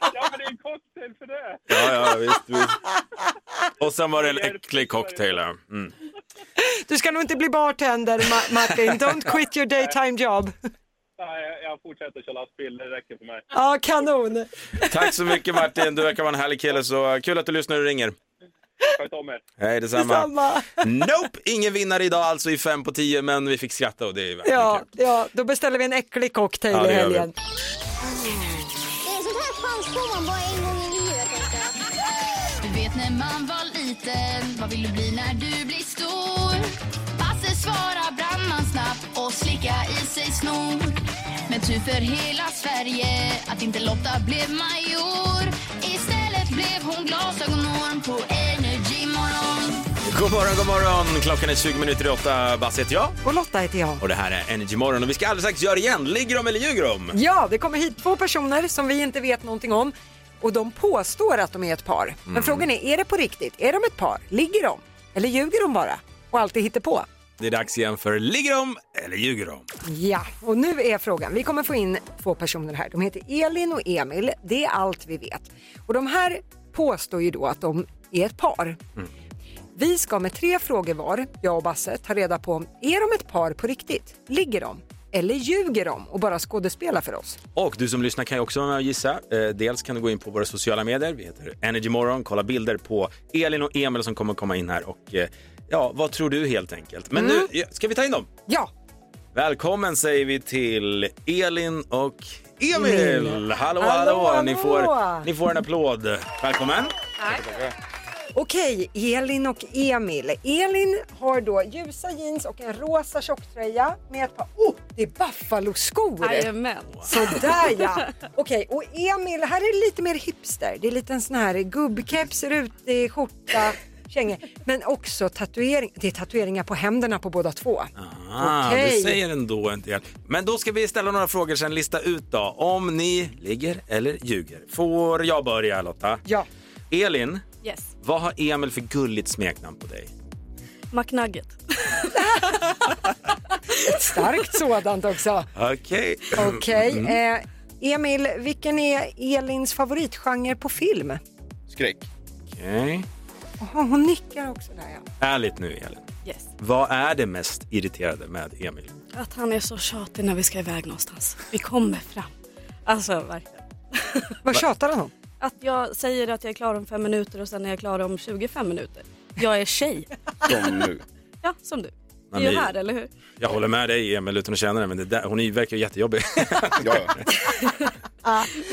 Speaker 11: ja, men det är en cocktail för det.
Speaker 1: Ja, ja, visst, visst. Och sen var det en äcklig cocktail. ja. Mm.
Speaker 2: Du ska nog inte bli bartender Ma- Martin, don't quit your daytime job.
Speaker 11: Nej, jag- jag fortsätter köra lastbil, det räcker för mig.
Speaker 2: Ja, kanon.
Speaker 1: Tack så mycket Martin, du verkar vara en härlig kille så kul att du lyssnar och ringer.
Speaker 11: Sköt om er.
Speaker 1: Hej detsamma.
Speaker 2: Detsamma.
Speaker 1: Nope, ingen vinnare idag alltså i fem på tio men vi fick skratta och det är ju verkligen
Speaker 2: Ja, ja, då beställer vi en äcklig cocktail
Speaker 1: Ja, det
Speaker 2: i
Speaker 1: gör vi.
Speaker 2: helgen.
Speaker 6: sånt här chans får man bara en gång i livet. Du vet när man var liten, vad vill du bli när du blir stor? Basse svara brandman snabbt och slicka i sig snor. Men tur för hela Sverige att inte Lotta blev major. Istället blev hon glasögonorm på Energy morgon.
Speaker 1: God morgon, god morgon. Klockan är 20 minuter i åtta. Basse heter jag.
Speaker 2: Och Lotta heter jag.
Speaker 1: Och det här är Energy Morgon och vi ska alldeles strax göra igen. Ligger de eller ljuger de?
Speaker 2: Ja, det kommer hit två personer som vi inte vet någonting om och de påstår att de är ett par. Men
Speaker 1: Mm.
Speaker 2: frågan är, är det på riktigt? Är de ett par? Ligger de? Eller ljuger de bara? Och alltid hittar på?
Speaker 1: Det är dags igen för Ligger de eller ljuger de?
Speaker 2: Ja, och nu är frågan. Vi kommer få in två personer här. De heter Elin och Emil. Det är allt vi vet. Och de här påstår ju då att de är ett par. Vi ska med tre frågor var, jag och Basse, ta reda på om är de ett par på riktigt? Ligger de? Eller ljuger de och bara skådespelar för oss?
Speaker 1: Och du som lyssnar kan ju också vara med och gissa. Eh, Dels kan du gå in på våra sociala medier. Vi heter Energy Morgon. Kolla bilder på Elin och Emil som kommer komma in här. Och eh, ja, vad tror du helt enkelt? Men
Speaker 2: Mm.
Speaker 1: nu ja, ska vi ta in dem.
Speaker 2: Ja.
Speaker 1: Välkommen säger vi till Elin och
Speaker 2: Emil.
Speaker 1: Emil. Hallå, hallå.
Speaker 2: Hallå, hallå.
Speaker 1: Ni, får, ni får en applåd. Välkommen.
Speaker 2: Okej, Elin och Emil. Elin har då ljusa jeans och en rosa tjocktröja med ett par... Oh, det är Buffalo-skor!
Speaker 13: Jajamän.
Speaker 2: Sådär ja! Okej, och Emil, här är det lite mer hipster. Det är lite en sån här gubbkeps, rutig skjorta, kängor. Men också tatuering. Det är tatueringar på händerna på båda två.
Speaker 1: Ah,
Speaker 2: Okej.
Speaker 1: Du säger ändå en del. Men då ska vi ställa några frågor sen lista ut då. Om ni ligger eller ljuger. Får jag börja Lotta?
Speaker 2: Ja.
Speaker 1: Elin,
Speaker 13: Yes.
Speaker 1: vad har Emil för gulligt smeknamn på dig?
Speaker 13: McNugget.
Speaker 2: Ett starkt sådant också.
Speaker 1: Okej.
Speaker 2: Okej,
Speaker 1: Mm.
Speaker 2: eh, Emil, vilken är Elins favoritgenre på film?
Speaker 1: Skräck. Okej.
Speaker 2: Jaha, hon nickar också där ja.
Speaker 1: Ärligt nu Elin.
Speaker 13: Yes.
Speaker 1: Vad är det mest irriterande med Emil?
Speaker 13: Att han är så tjatig när vi ska iväg någonstans. Vi kommer fram. Alltså verkligen.
Speaker 2: Vad tjatar han om?
Speaker 13: Att jag säger att jag är klar om fem minuter och sen är jag klar om 25 minuter. Jag är tjej.
Speaker 1: Som nu.
Speaker 13: Ja, som du. Vi
Speaker 1: Nej,
Speaker 13: är ju
Speaker 1: men-
Speaker 13: här, eller hur?
Speaker 1: Jag håller med dig Emil utan att känna det men det där, hon är ju- verkar ju jättejobbig. ja.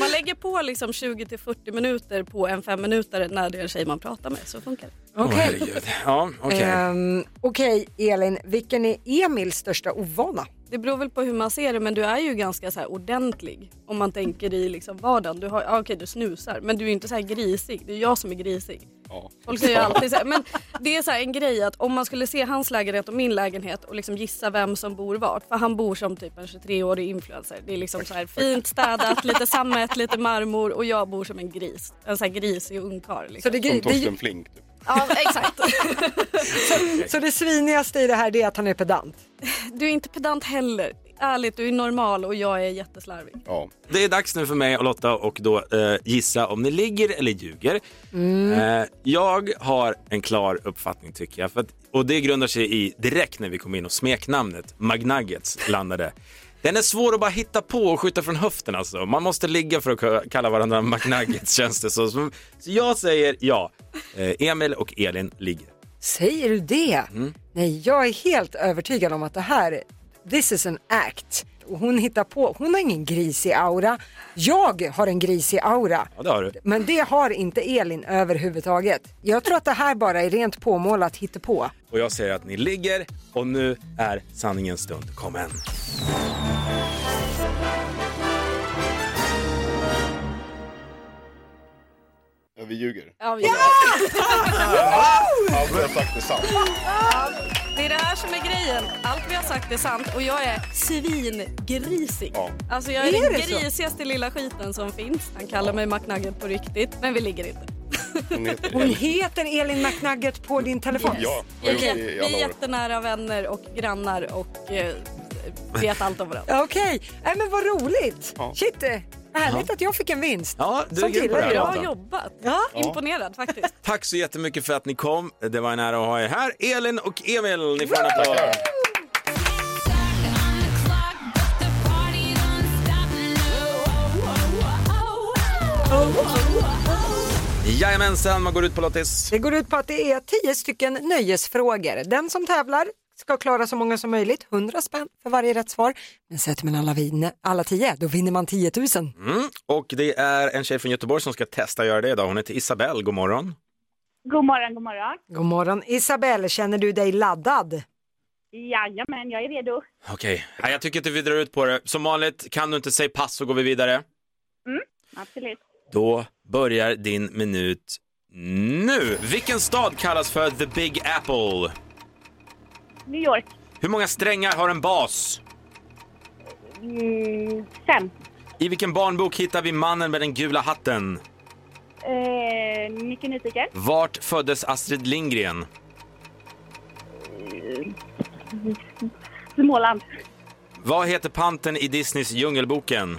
Speaker 13: Man lägger på liksom 20-40 minuter på en femminutare när det är en tjej man pratar med. Så funkar det.
Speaker 1: Åh, herregud. ja, okej.
Speaker 2: Ehm, Okej, Elin, vilken är Emils största ovana?
Speaker 13: Det beror väl på hur man ser det men du är ju ganska så här ordentlig om man tänker i liksom vardagen. Du har, ja, okej du snusar men du är ju inte så här grisig. Det är jag som är grisig. Folk säger ju alltid så här, men det är så här en grej att om man skulle se hans lägenhet och min lägenhet och liksom gissa vem som bor vart. För han bor som typ en 23-årig influencer. Det är liksom så här fint städat, lite sammet, lite marmor och jag bor som en gris. En så här grisig ungkarl. Liksom.
Speaker 2: Som Torsten typ.
Speaker 11: Flink.
Speaker 13: Ja exakt.
Speaker 2: Så det svinigaste i det här det är att han är pedant.
Speaker 13: Du är inte pedant heller. Ärligt, du är normal och jag är jätteslarvig.
Speaker 1: Det är dags nu för mig och Lotta och då eh, gissa om ni ligger eller ljuger. Eh, jag har en klar uppfattning tycker jag. För att, och det grundar sig i direkt när vi kom in och smeknamnet Magnuggets landade. Den är svår att bara hitta på och skjuta från höften alltså. Man måste ligga för att k- kalla varandra Magnuggets känns det så. Så så jag säger ja. Eh, Emil och Elin ligger.
Speaker 2: Säger du det? Nej, jag är helt övertygad om att det här, this is an act. Och hon hittar på, hon har ingen grisig aura. Jag har en grisig aura.
Speaker 1: Ja, det har du.
Speaker 2: Men det har inte Elin överhuvudtaget. Jag tror att det här bara är rent påmålat hittepå.
Speaker 1: Och jag säger att ni ligger och nu är sanningens stund kommen.
Speaker 3: Ja, vi ljuger.
Speaker 13: Ja! vi gör
Speaker 3: Allt jag har sagt är sant.
Speaker 13: Ja, det är det här som är grejen. Allt vi har sagt är sant och jag är svingrisig. Alltså jag är,
Speaker 2: Är
Speaker 13: den
Speaker 2: det så?
Speaker 13: grisigaste lilla skiten som finns. Han kallar mig McNugget på riktigt, men vi ligger inte.
Speaker 2: Hon heter Elin McNugget på din telefon.
Speaker 13: Vi är, vi är jättenära vänner och grannar och eh, vet allt om varandra.
Speaker 2: Ja, Okej, Nej, men vad roligt. Shit, eh, härligt att jag fick en vinst.
Speaker 1: Ja, du
Speaker 2: Som
Speaker 1: är grym på
Speaker 2: kille.
Speaker 1: det här.
Speaker 13: Bra
Speaker 1: Lotta.
Speaker 13: jobbat!
Speaker 1: Ja.
Speaker 13: Imponerad faktiskt.
Speaker 1: Tack så jättemycket för att ni kom. Det var en ära att ha er här. Elin och Emil, ni får en applåd. Jajamensan, man går ut på Lottis.
Speaker 2: Det går ut på att det är tio stycken nöjesfrågor. Den som tävlar ska klara så många som möjligt, 100 spänn för varje rätt svar. Men sätter man alla, vinne, alla tio, då vinner man 10 000.
Speaker 1: Mm. Och det är en tjej från Göteborg som ska testa att göra det idag. Hon heter Isabelle, god morgon.
Speaker 14: God morgon, god morgon.
Speaker 2: God morgon Isabelle, känner du dig laddad?
Speaker 14: Jajamän, jag är redo.
Speaker 1: Okej, Nej, jag tycker inte vi drar ut på det. Som vanligt, kan du inte säga pass så går vi vidare.
Speaker 14: Mm, absolut.
Speaker 1: Då börjar din minut nu. Vilken stad kallas för The Big Apple?
Speaker 14: New York.
Speaker 1: Hur många strängar har en bas?
Speaker 14: Mm, fem.
Speaker 1: I vilken barnbok hittar vi mannen med den gula hatten?
Speaker 14: Eh, mycket nyfiken.
Speaker 1: Vart föddes Astrid Lindgren?
Speaker 14: Småland.
Speaker 1: Vad heter panten i Disneys Djungelboken?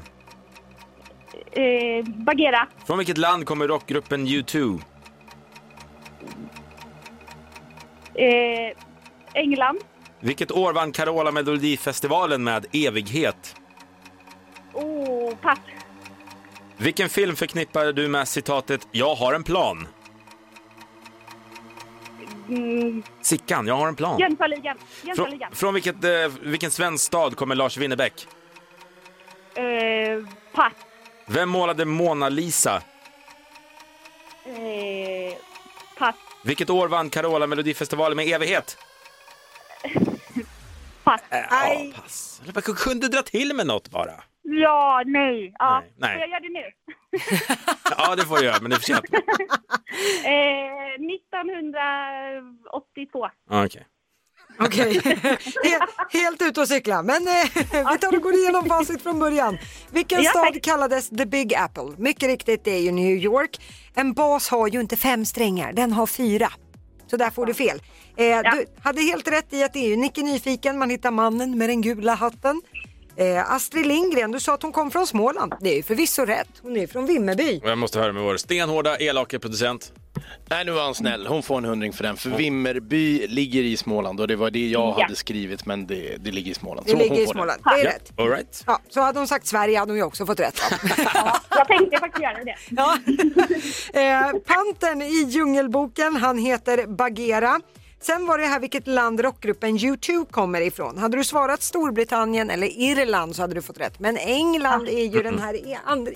Speaker 14: Eh, Bagheera.
Speaker 1: Från vilket land kommer rockgruppen U2?
Speaker 14: Eh, England.
Speaker 1: Vilket år vann Carola Melodifestivalen med Evighet?
Speaker 14: Oh, pass.
Speaker 1: Vilken film förknippar du med citatet “Jag har en plan”?
Speaker 14: Mm,
Speaker 1: Sickan, jag har en plan.
Speaker 14: Jönssonligan.
Speaker 1: Från,
Speaker 14: Jönssonligan.
Speaker 1: från vilket, eh, vilken svensk stad kommer Lars Winnerbäck?
Speaker 14: Eh, pass.
Speaker 1: Vem målade Mona Lisa?
Speaker 14: Eh, pass.
Speaker 1: Vilket år vann Carola Melodifestivalen med Evighet?
Speaker 14: Pass.
Speaker 1: Aj. Pass. Jag kunde dra till med något bara.
Speaker 14: Ja, nej. Ja.
Speaker 1: nej.
Speaker 14: Får jag göra det nu?
Speaker 1: Ja, det får jag göra, men det är för sent.
Speaker 14: Eh, 1982.
Speaker 1: Ja, Okej.
Speaker 2: Okej, helt, helt ute och cykla. Men eh, vi tar och går igenom facit från början. Vilken
Speaker 14: Ja,
Speaker 2: stad kallades The Big Apple? Mycket riktigt, det är ju New York. En bas har ju inte fem strängar, den har fyra. Så där får du fel. Eh, Du hade helt rätt i att det är ju Nicke Nyfiken, man hittar mannen med den gula hatten. Eh, Astrid Lindgren, du sa att hon kom från Småland. Det är ju förvisso rätt, hon är från Vimmerby.
Speaker 1: Och jag måste höra med vår stenhårda, elaka producent.
Speaker 3: Nej, nu var han snäll. Hon får en hundring för den. För Vimmerby ligger i Småland och det var det jag
Speaker 2: Ja.
Speaker 3: hade skrivit, men det, det ligger i Småland.
Speaker 2: Det
Speaker 3: Så
Speaker 2: ligger
Speaker 3: hon
Speaker 2: i
Speaker 3: får den.
Speaker 2: Småland, det är
Speaker 3: Ja,
Speaker 2: rätt.
Speaker 1: All right.
Speaker 2: Ja, så hade hon sagt Sverige hade hon ju också fått rätt.
Speaker 14: Jag tänkte faktiskt göra det.
Speaker 2: Ja. Eh, Pantern i Djungelboken, han heter Bagheera. Sen var det här vilket land rockgruppen U2 kommer ifrån. Hade du svarat Storbritannien eller Irland så hade du fått rätt. Men England är ju den här e- and-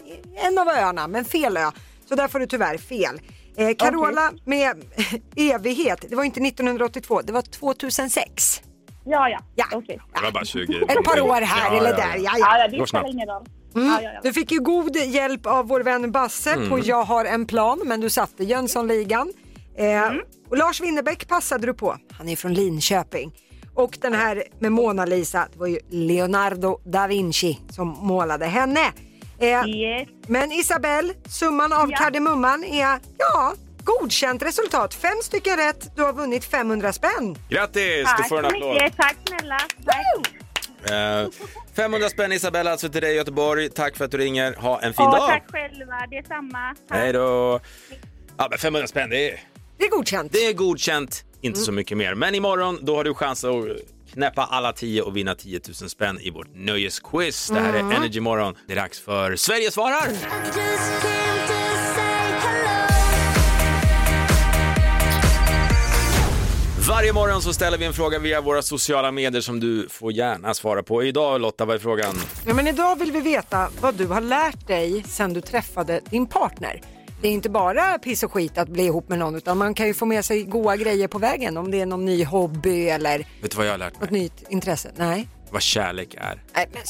Speaker 2: en av öarna, men fel ö. Så där får du tyvärr fel. Eh, Carola med evighet, det var inte 1982, det var 2006.
Speaker 14: Ja, ja.
Speaker 2: ja.
Speaker 15: Det var bara 20.
Speaker 2: Ett par år här eller där, ja, ja.
Speaker 14: ja,
Speaker 15: Går
Speaker 14: det
Speaker 15: snabbt.
Speaker 14: spelar ingen roll.
Speaker 2: Mm.
Speaker 14: Ja, ja, ja.
Speaker 2: Du fick ju god hjälp av vår vän Basse
Speaker 15: Mm.
Speaker 2: på Jag har en plan, men du satte Jönssonligan. Eh,
Speaker 14: Mm.
Speaker 2: Och Lars Winnerbäck passade du på. Han är från Linköping. Och den här med Mona Lisa, det var ju Leonardo da Vinci som målade henne. Eh, Men Isabel, summan av kardemumman är, ja, godkänt resultat. Fem stycken rätt, du har vunnit 500 spänn.
Speaker 1: Grattis! Du får en applåd.
Speaker 2: tack snälla.
Speaker 1: Eh, 500 spänn Isabella alltså till dig i Göteborg. Tack för att du ringer. Ha en fin
Speaker 14: Ja,
Speaker 1: dag.
Speaker 14: tack själva, det är samma.
Speaker 1: Hej då. Ja, men 500 spänn, det är...
Speaker 2: Det är godkänt.
Speaker 1: Det är godkänt. Inte
Speaker 2: Mm.
Speaker 1: så mycket mer. Men imorgon, då har du chans att knäppa alla 10 och vinna 10 000 spänn i vårt nöjesquiz. Det här
Speaker 15: Mm.
Speaker 1: är Energy Morgon. Det är dags för Sverige svarar! Varje morgon så ställer vi en fråga via våra sociala medier som du får gärna svara på. Idag Lotta, vad är frågan?
Speaker 2: Ja, men idag vill vi veta vad du har lärt dig sen du träffade din partner. Det är inte bara piss och skit att bli ihop med någon utan man kan ju få med sig goda grejer på vägen om det är någon ny hobby eller
Speaker 1: Vet du vad jag har lärt mig?
Speaker 2: något nytt intresse. Nej,
Speaker 1: Vad kärlek är.
Speaker 2: Nej men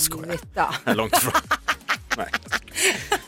Speaker 2: sluta.
Speaker 1: Långt ifrån. Nej.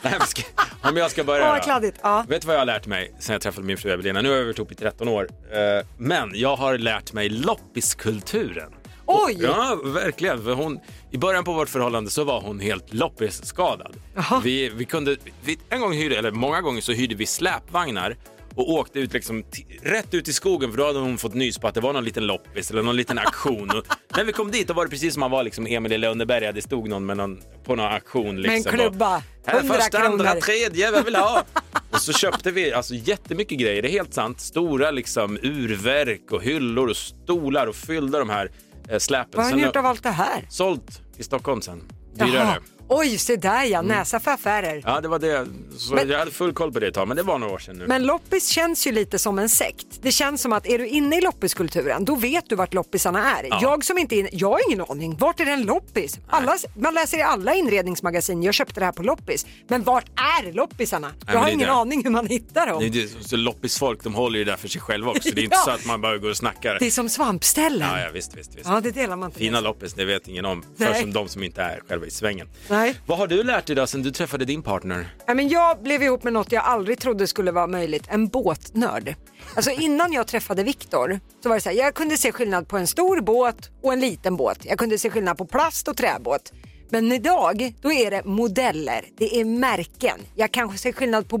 Speaker 1: Nej, men ska- Om jag ska börja
Speaker 2: Åh,
Speaker 1: då.
Speaker 2: kladdigt. Ja.
Speaker 1: Vet du vad jag har lärt mig sen jag träffade min fru Evelina? Nu har vi varit ihop i 13 år. Eh, Men jag har lärt mig loppiskulturen.
Speaker 2: Oj!
Speaker 1: Ja, verkligen. För hon, I början på vårt förhållande så var hon helt loppisskadad. Vi, vi kunde, vi, en gång hyrde, eller många gånger så hyrde vi släpvagnar och åkte ut liksom t- rätt ut i skogen för då hade hon fått nys på att det var någon liten loppis eller någon liten auktion. Och när vi kom dit då var det precis som man var liksom Emil i Lönneberga. Det stod någon, med någon på någon auktion.
Speaker 2: Med en
Speaker 1: Liksom.
Speaker 2: klubba.
Speaker 1: Och, Här är
Speaker 2: 100
Speaker 1: första, andra,
Speaker 2: kronor."
Speaker 1: tredje, vem vill ha? Och så köpte vi alltså jättemycket grejer, det är helt sant. Stora liksom urverk och hyllor och stolar och fyllde de här eh, släpen.
Speaker 2: Vad har
Speaker 1: Sen
Speaker 2: ni
Speaker 1: jag-
Speaker 2: gjort av allt det här?
Speaker 1: Sålt i Stockholm sen.
Speaker 2: Jaha.
Speaker 1: Dyrare.
Speaker 2: Oj, se där ja, näsa för affärer.
Speaker 1: Ja, det var det. Så
Speaker 2: Men-
Speaker 1: jag hade full koll på det ett tag, men det var några år sedan nu.
Speaker 2: Men loppis känns ju lite som en sekt. Det känns som att är du inne i loppiskulturen, då vet du vart loppisarna är.
Speaker 1: Ja.
Speaker 2: Jag som inte är inne, jag har ingen aning. Vart är det en loppis? Alla, man läser i alla inredningsmagasin, jag köpte det här på loppis. Men vart är loppisarna? Jag
Speaker 1: men
Speaker 2: har
Speaker 1: det är
Speaker 2: ingen
Speaker 1: det.
Speaker 2: aning hur man hittar dem.
Speaker 1: Nej, det är så loppisfolk, de håller ju där för sig själva också. Det är inte
Speaker 2: Ja.
Speaker 1: så att man bara går och snackar.
Speaker 2: Det är som svampställen.
Speaker 1: Ja, ja, visst, visst, visst.
Speaker 2: Ja, det delar man inte.
Speaker 1: Fina loppis, det vet ingen om. För
Speaker 2: Nej.
Speaker 1: som de som inte är själva i svängen.
Speaker 2: Nej.
Speaker 1: Vad har du lärt dig då sen du träffade din partner?
Speaker 2: Ja, men jag blev ihop med något jag aldrig trodde skulle vara möjligt, en båtnörd. Alltså innan jag träffade Viktor så var det så här, jag kunde se skillnad på en stor båt och en liten båt. Jag kunde se skillnad på plast och träbåt. Men idag, då är det modeller, det är märken. Jag kanske ser skillnad på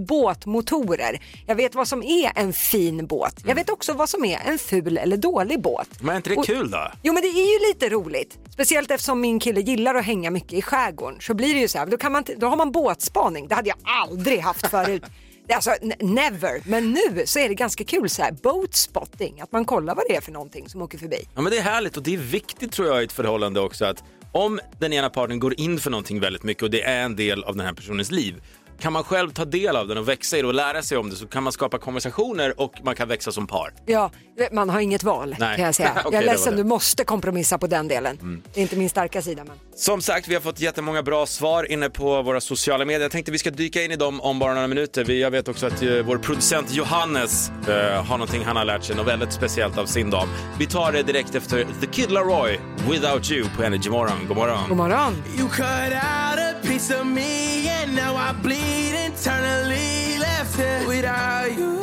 Speaker 2: båtmotorer. Jag vet vad som är en fin båt. Jag vet också vad som är en ful eller dålig båt.
Speaker 1: Mm. Men är inte det
Speaker 2: Och-
Speaker 1: kul då?
Speaker 2: Jo men det är ju lite roligt. Speciellt eftersom min kille gillar att hänga mycket i skärgården så blir det ju så här, då, kan man, t- då har man båtspaning. Det hade jag aldrig haft förut. Det är Alltså n- never, men nu så är det ganska kul så här boat spotting, att man kollar vad det är för någonting som åker förbi.
Speaker 1: Ja, men det är härligt och det är viktigt tror jag i ett förhållande också att om den ena parten går in för någonting väldigt mycket och det är en del av den här personens liv kan man själv ta del av den och växa i det och lära sig om det så kan man skapa konversationer och man kan växa som par.
Speaker 2: Ja, man har inget val
Speaker 1: Nej.
Speaker 2: kan jag säga.
Speaker 1: Okej,
Speaker 2: jag
Speaker 1: det
Speaker 2: är
Speaker 1: var
Speaker 2: ledsen,
Speaker 1: det.
Speaker 2: du måste kompromissa på den delen.
Speaker 1: Mm.
Speaker 2: Det är inte min starka sida men.
Speaker 1: Som sagt, vi har fått jättemånga bra svar inne på våra sociala medier. Jag tänkte vi ska dyka in i dem om bara några minuter. Vi- Jag vet också att eh, vår producent Johannes eh, har någonting han har lärt sig, något väldigt speciellt av sin dam. Vi tar det direkt efter The Kid Laroi, Without You på Energy Morgon. God morgon.
Speaker 2: God morgon.
Speaker 16: You cut out a piece of me and now I bleed internally left here without you,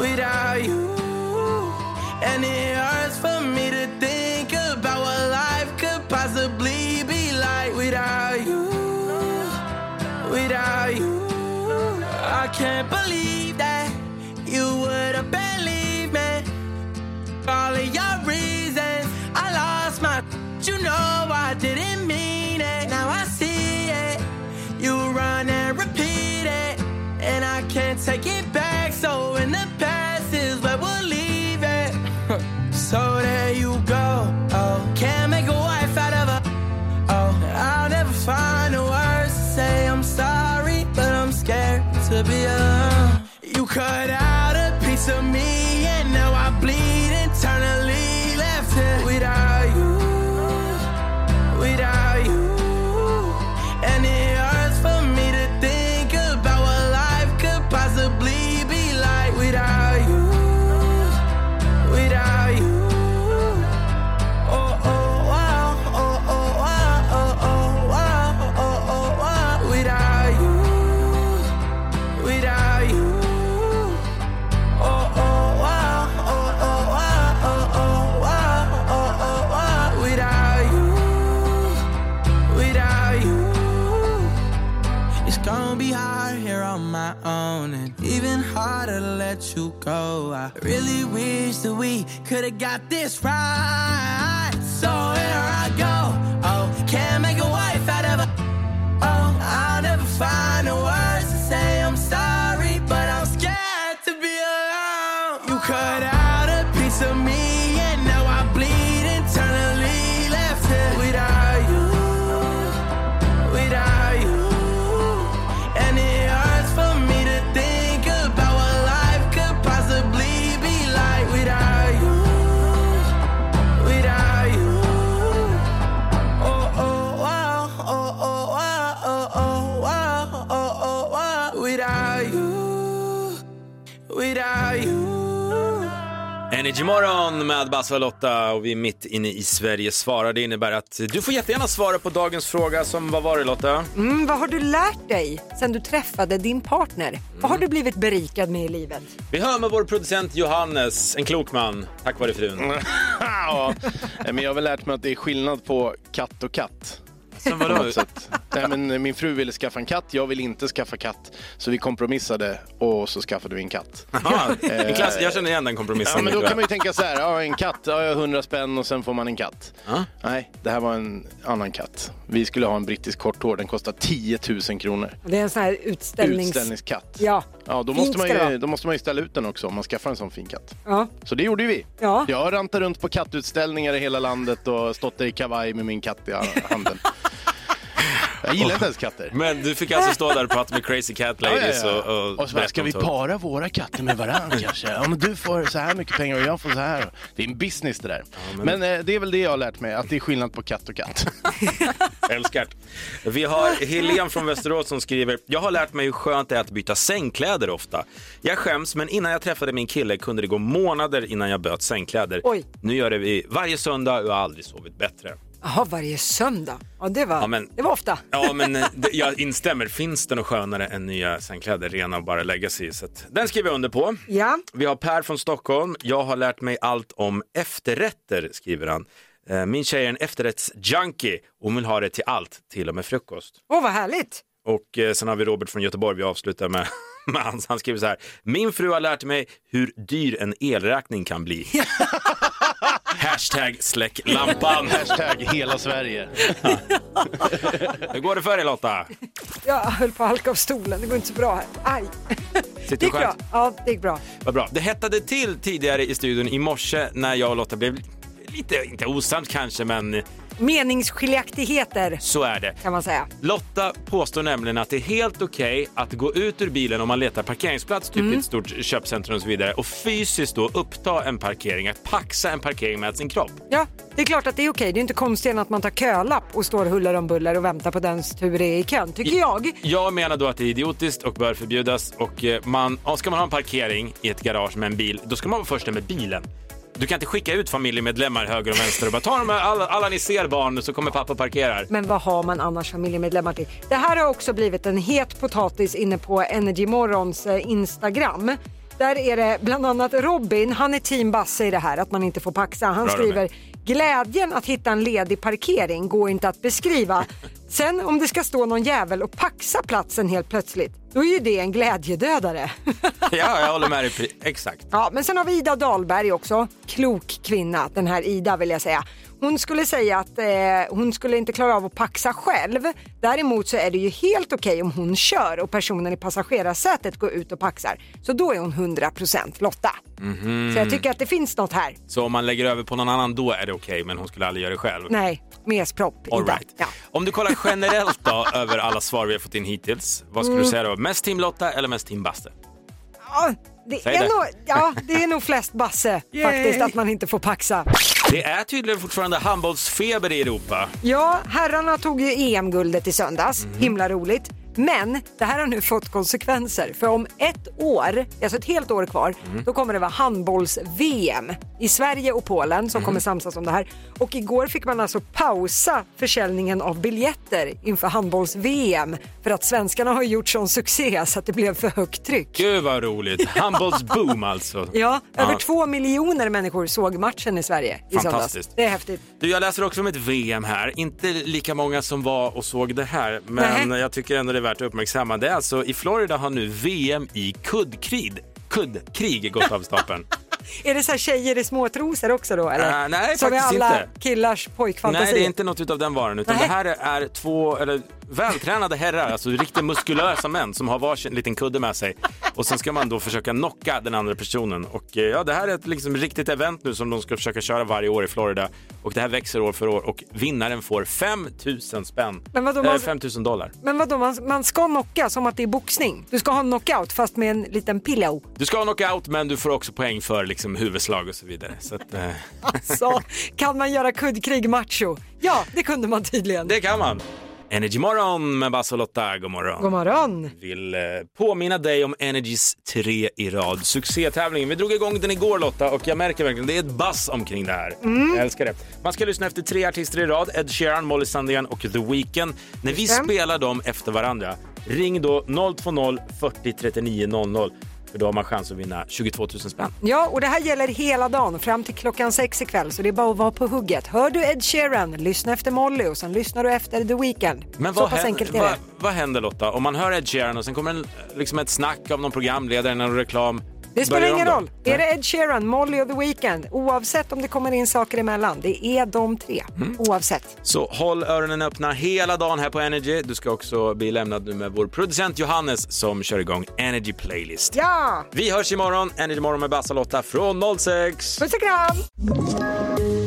Speaker 16: without you. And it hurts for me to think about what life could possibly be like without you, without you. I can't believe that you would have believed me all of your reasons. I lost my, you know I didn't mean it. Now I see it. You run and repeat it, and I can't take it back. So in the past is where we'll leave it. so there you go. Oh, can't make a wife out of a. Oh, I'll never find the words to say I'm sorry, but I'm scared to be alone. You cut out a piece of me, and now I Oh, oh, It's gonna be hard here on my own, and even harder to let you go. I really wish that we could have got this right. So here I go. Oh, can't make a wife out of a. Oh, I'll never find the words to say I'm sorry, but I'm scared to be alone. You cut out a piece of me, and now I bleed internally. Left here without you, without you. And it hurts for me to think about what life could possibly be like without you, without you. Oh, oh, wow, oh, oh, wow, oh, oh, wow, oh, oh, wow. Without you, without you.
Speaker 1: Energy morgon med Basse och Lotta och vi är mitt inne i Sverige svarar. Det innebär att du får jättegärna svara på dagens fråga som, vad var det Lotta?
Speaker 2: Mm, vad har du lärt dig sen du träffade din partner? Vad har du blivit berikad med i livet?
Speaker 1: Vi hör med vår producent Johannes, en klok man, tack vare frun.
Speaker 3: ja, men jag har väl lärt mig att det är skillnad på katt och katt.
Speaker 1: Så vadå?
Speaker 3: På något sätt. Nej, men min fru ville skaffa en katt, jag ville inte skaffa katt. Så vi kompromissade och så skaffade vi en katt.
Speaker 1: Aha, en
Speaker 3: Eh,
Speaker 1: klass, jag känner igen den kompromissen.
Speaker 3: Ja, men då kan man ju tänka så här, ja, en katt, ja, jag har 100 spänn och sen får man en katt. Nej, det här var en annan katt. Vi skulle ha en brittisk korthår, den kostar 10 000 kronor.
Speaker 2: Det är en sån här utställnings...
Speaker 3: Utställningskatt.
Speaker 2: Ja.
Speaker 3: Ja, då
Speaker 2: Fint
Speaker 3: måste, man
Speaker 2: ska det
Speaker 3: ju,
Speaker 2: vara.
Speaker 3: då måste man ju ställa ut den också om man skaffar en sån fin katt.
Speaker 2: Ja.
Speaker 3: Så det gjorde ju vi.
Speaker 2: Ja.
Speaker 3: Jag rantade runt på kattutställningar i hela landet och stått där i kavaj med min katt i handen. Jag gillar inte ens katter.
Speaker 1: Men du fick alltså stå där och prata med crazy cat ladies
Speaker 3: Ja, ja, ja.
Speaker 1: och...
Speaker 3: Och så bara, ska vi para våra katter med varandra kanske? Ja, men du får så här mycket pengar och jag får så här. Det är en business det där. men
Speaker 1: men-
Speaker 3: eh, det är väl det jag har lärt mig, att det är skillnad på katt och katt.
Speaker 1: Älskart. Vi har Helen från Västerås som skriver, jag har lärt mig hur skönt det är att byta sängkläder ofta. Jag skäms, men innan jag träffade min kille kunde det gå månader innan jag bytte sängkläder.
Speaker 2: Oj.
Speaker 1: Nu gör det vi varje söndag och jag har aldrig sovit bättre.
Speaker 2: Jaha, varje söndag. Ja, det var,
Speaker 1: Ja, men-
Speaker 2: det var ofta.
Speaker 1: Ja, men eh, det- jag instämmer. Finns det något skönare än nya sängkläder, rena och bara lägga sig i? Så att den skriver jag under på.
Speaker 2: Ja.
Speaker 1: Vi har Per från Stockholm. Jag har lärt mig allt om efterrätter, skriver han. Eh, Min tjej är en efterrättsjunkie och hon vill ha det till allt, till och med frukost.
Speaker 2: Åh, vad härligt.
Speaker 1: Och eh, sen har vi Robert från Göteborg, vi avslutar med, med hans. Han skriver så här. Min fru har lärt mig hur dyr en elräkning kan bli. Hashtag släck lampan.
Speaker 3: Hashtag hela Sverige.
Speaker 1: Hur går det för dig Lotta?
Speaker 2: Jag höll på att halka av stolen, det går inte så bra här. Aj.
Speaker 1: Sitter
Speaker 2: det gick bra.
Speaker 1: skönt?
Speaker 2: Ja, det gick bra.
Speaker 1: Vad bra. Det hettade till tidigare i studion i morse när jag och Lotta blev lite, inte osams kanske, men
Speaker 2: Meningsskiljaktigheter
Speaker 1: så är det.
Speaker 2: kan man säga.
Speaker 1: Lotta påstår nämligen att det är helt okej att gå ut ur bilen om man letar parkeringsplats, typ i ett stort köpcentrum och så vidare, och fysiskt då uppta en parkering, att paxa en parkering med sin kropp.
Speaker 2: Ja, det är klart att det är okej. Det är inte konstigt än att man tar kölapp och står huller om buller och väntar på dens tur är i kön, tycker jag.
Speaker 1: Jag menar då att det är idiotiskt och bör förbjudas. Och eh, man, ja, ska man ha en parkering i ett garage med en bil, då ska man vara först där med bilen. Du kan inte skicka ut familjemedlemmar höger och vänster och bara ta dem här, alla, alla ni ser barn så kommer pappa parkerar.
Speaker 2: Men vad har man annars familjemedlemmar till? Det här har också blivit en het potatis inne på Energy Morgons eh, Instagram. Där är det bland annat Robin, han är team Basse i det här att man inte får paxa. Han
Speaker 15: Bra, Robin.
Speaker 2: skriver glädjen att hitta en ledig parkering går inte att beskriva. Sen om det ska stå någon jävel och paxa platsen helt plötsligt, då är ju det en glädjedödare.
Speaker 1: Ja, jag håller med dig. pri- Exakt.
Speaker 2: Ja, men sen har vi Ida Dahlberg också. Klok kvinna, den här Ida vill jag säga. Hon skulle säga att eh, hon skulle inte klara av att paxa själv. Däremot så är det ju helt okej om hon kör och personen i passagerarsätet går ut och paxar. Så då är hon 100% Lotta.
Speaker 1: Mhm.
Speaker 2: Så jag tycker att det finns något här.
Speaker 1: Så om man lägger över på någon annan, då är det okej, men hon skulle aldrig göra det själv.
Speaker 2: Nej, mespropp Ida.
Speaker 1: All right.
Speaker 2: Ja.
Speaker 1: Om du kollar generellt då över alla svar vi har fått in hittills, vad skulle du
Speaker 2: Mm.
Speaker 1: säga då? Mest Team Lotta eller mest Team Basse?
Speaker 2: Ja, det,
Speaker 1: Säg
Speaker 2: är
Speaker 1: det.
Speaker 2: Nog, ja, det är nog flest Basse
Speaker 1: Yay.
Speaker 2: faktiskt att man inte får paxa.
Speaker 1: Det är tydligen fortfarande handbollsfeber i Europa.
Speaker 2: Ja, herrarna tog ju EM-guldet i söndags. Himla roligt. Men det här har nu fått konsekvenser. För om ett år, alltså ett helt år kvar,
Speaker 15: Mm.
Speaker 2: då kommer det vara handbolls-VM i Sverige och Polen som kommer samsas om det här. Och igår fick man alltså pausa försäljningen av biljetter inför handbolls-VM för att svenskarna har gjort sån succé så att det blev för högt tryck.
Speaker 1: Gud vad roligt! Handbollsboom alltså.
Speaker 2: Ja, över två miljoner människor såg matchen i Sverige i söndags.
Speaker 1: Fantastiskt.
Speaker 2: Det är häftigt.
Speaker 1: Du, jag läser också om ett VM här. Inte lika många som var och såg det här, men jag tycker ändå det är värt att uppmärksamma det är alltså i Florida har nu VM i kuddkrig, kuddkrig gått av stapeln.
Speaker 2: Är det så här tjejer i småtrosor också då eller?
Speaker 1: Äh, nej,
Speaker 2: Som är
Speaker 1: faktiskt
Speaker 2: alla
Speaker 1: inte.
Speaker 2: killars pojkfantasi?
Speaker 1: Nej, det är inte något utav den varan utan det här är är två eller, vältränade herrar, alltså riktigt muskulösa män som har varsin liten kudde med sig och sen ska man då försöka knocka den andra personen och eh, ja, det här är ett liksom riktigt event nu som de ska försöka köra varje år i Florida och det här växer år för år och vinnaren får 5 000 spänn,
Speaker 2: Men vadå,
Speaker 1: eh,
Speaker 2: man-
Speaker 1: 5 000 dollar.
Speaker 2: Men vadå, man, man ska knocka som att det är boxning. Du ska ha en knockout fast med en liten pillow.
Speaker 1: Du ska ha knockout men du får också poäng för liksom huvudslag och så vidare. Så att, eh,
Speaker 2: Alltså, kan man göra kuddkrig macho? Ja, det kunde man tydligen.
Speaker 1: det kan man. Energy morgon med Basse och Lotta, god morgon.
Speaker 2: God morgon.
Speaker 1: vill eh, påminna dig om Energys tre i rad succétävling. Vi drog igång den igår Lotta och jag märker verkligen det är ett buzz omkring det här.
Speaker 2: Mm.
Speaker 1: Jag älskar det. Man ska lyssna efter tre artister i rad, Ed Sheeran, Molly Sandén och The Weeknd. När vi
Speaker 2: Just det.
Speaker 1: spelar dem efter varandra, ring då 020 40 39 00 för då har man chans att vinna 22 000 spänn.
Speaker 2: Ja, och det här gäller hela dagen fram till klockan sex ikväll så det är bara att vara på hugget. Hör du Ed Sheeran, lyssna efter Molly och sen lyssnar du efter The Weeknd.
Speaker 1: Men
Speaker 2: så
Speaker 1: vad,
Speaker 2: pass
Speaker 1: händer,
Speaker 2: enkelt är
Speaker 1: vad,
Speaker 2: det.
Speaker 1: vad händer Lotta? Om man hör Ed Sheeran och sen kommer en, liksom ett snack av någon programledare, någon reklam.
Speaker 2: Det spelar
Speaker 1: Börjar om
Speaker 2: ingen
Speaker 1: då?
Speaker 2: roll. Är det Ed Sheeran, Molly och The Weeknd, oavsett om det kommer in saker emellan, det är de tre.
Speaker 1: Mm.
Speaker 2: Oavsett.
Speaker 1: Så håll öronen öppna hela dagen här på Energy. Du ska också bli lämnad nu med vår producent Johannes som kör igång Energy Playlist.
Speaker 2: Ja!
Speaker 1: Vi hörs imorgon, Energy Morgon med Basse och Lotta från 06.
Speaker 2: Puss och kram!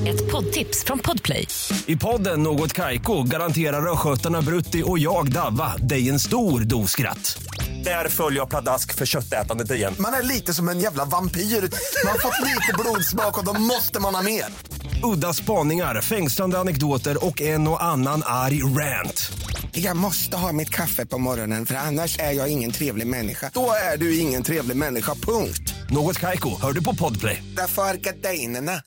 Speaker 15: Ett poddtips från Podplay.
Speaker 10: I podden Något Kaiko garanterar östgötarna Brutti och jag, Davva, dig en stor dos skratt. Där följer jag pladask för köttätandet igen.
Speaker 4: Man är lite som en jävla vampyr. Man har fått lite blodsmak och då måste man ha mer.
Speaker 10: Udda spaningar, fängslande anekdoter och en och annan arg rant.
Speaker 17: Jag måste ha mitt kaffe på morgonen för annars är jag ingen trevlig människa. Då är du ingen trevlig människa, punkt.
Speaker 10: Något Kaiko, hör du på Podplay.
Speaker 17: Därför arkadeinerna.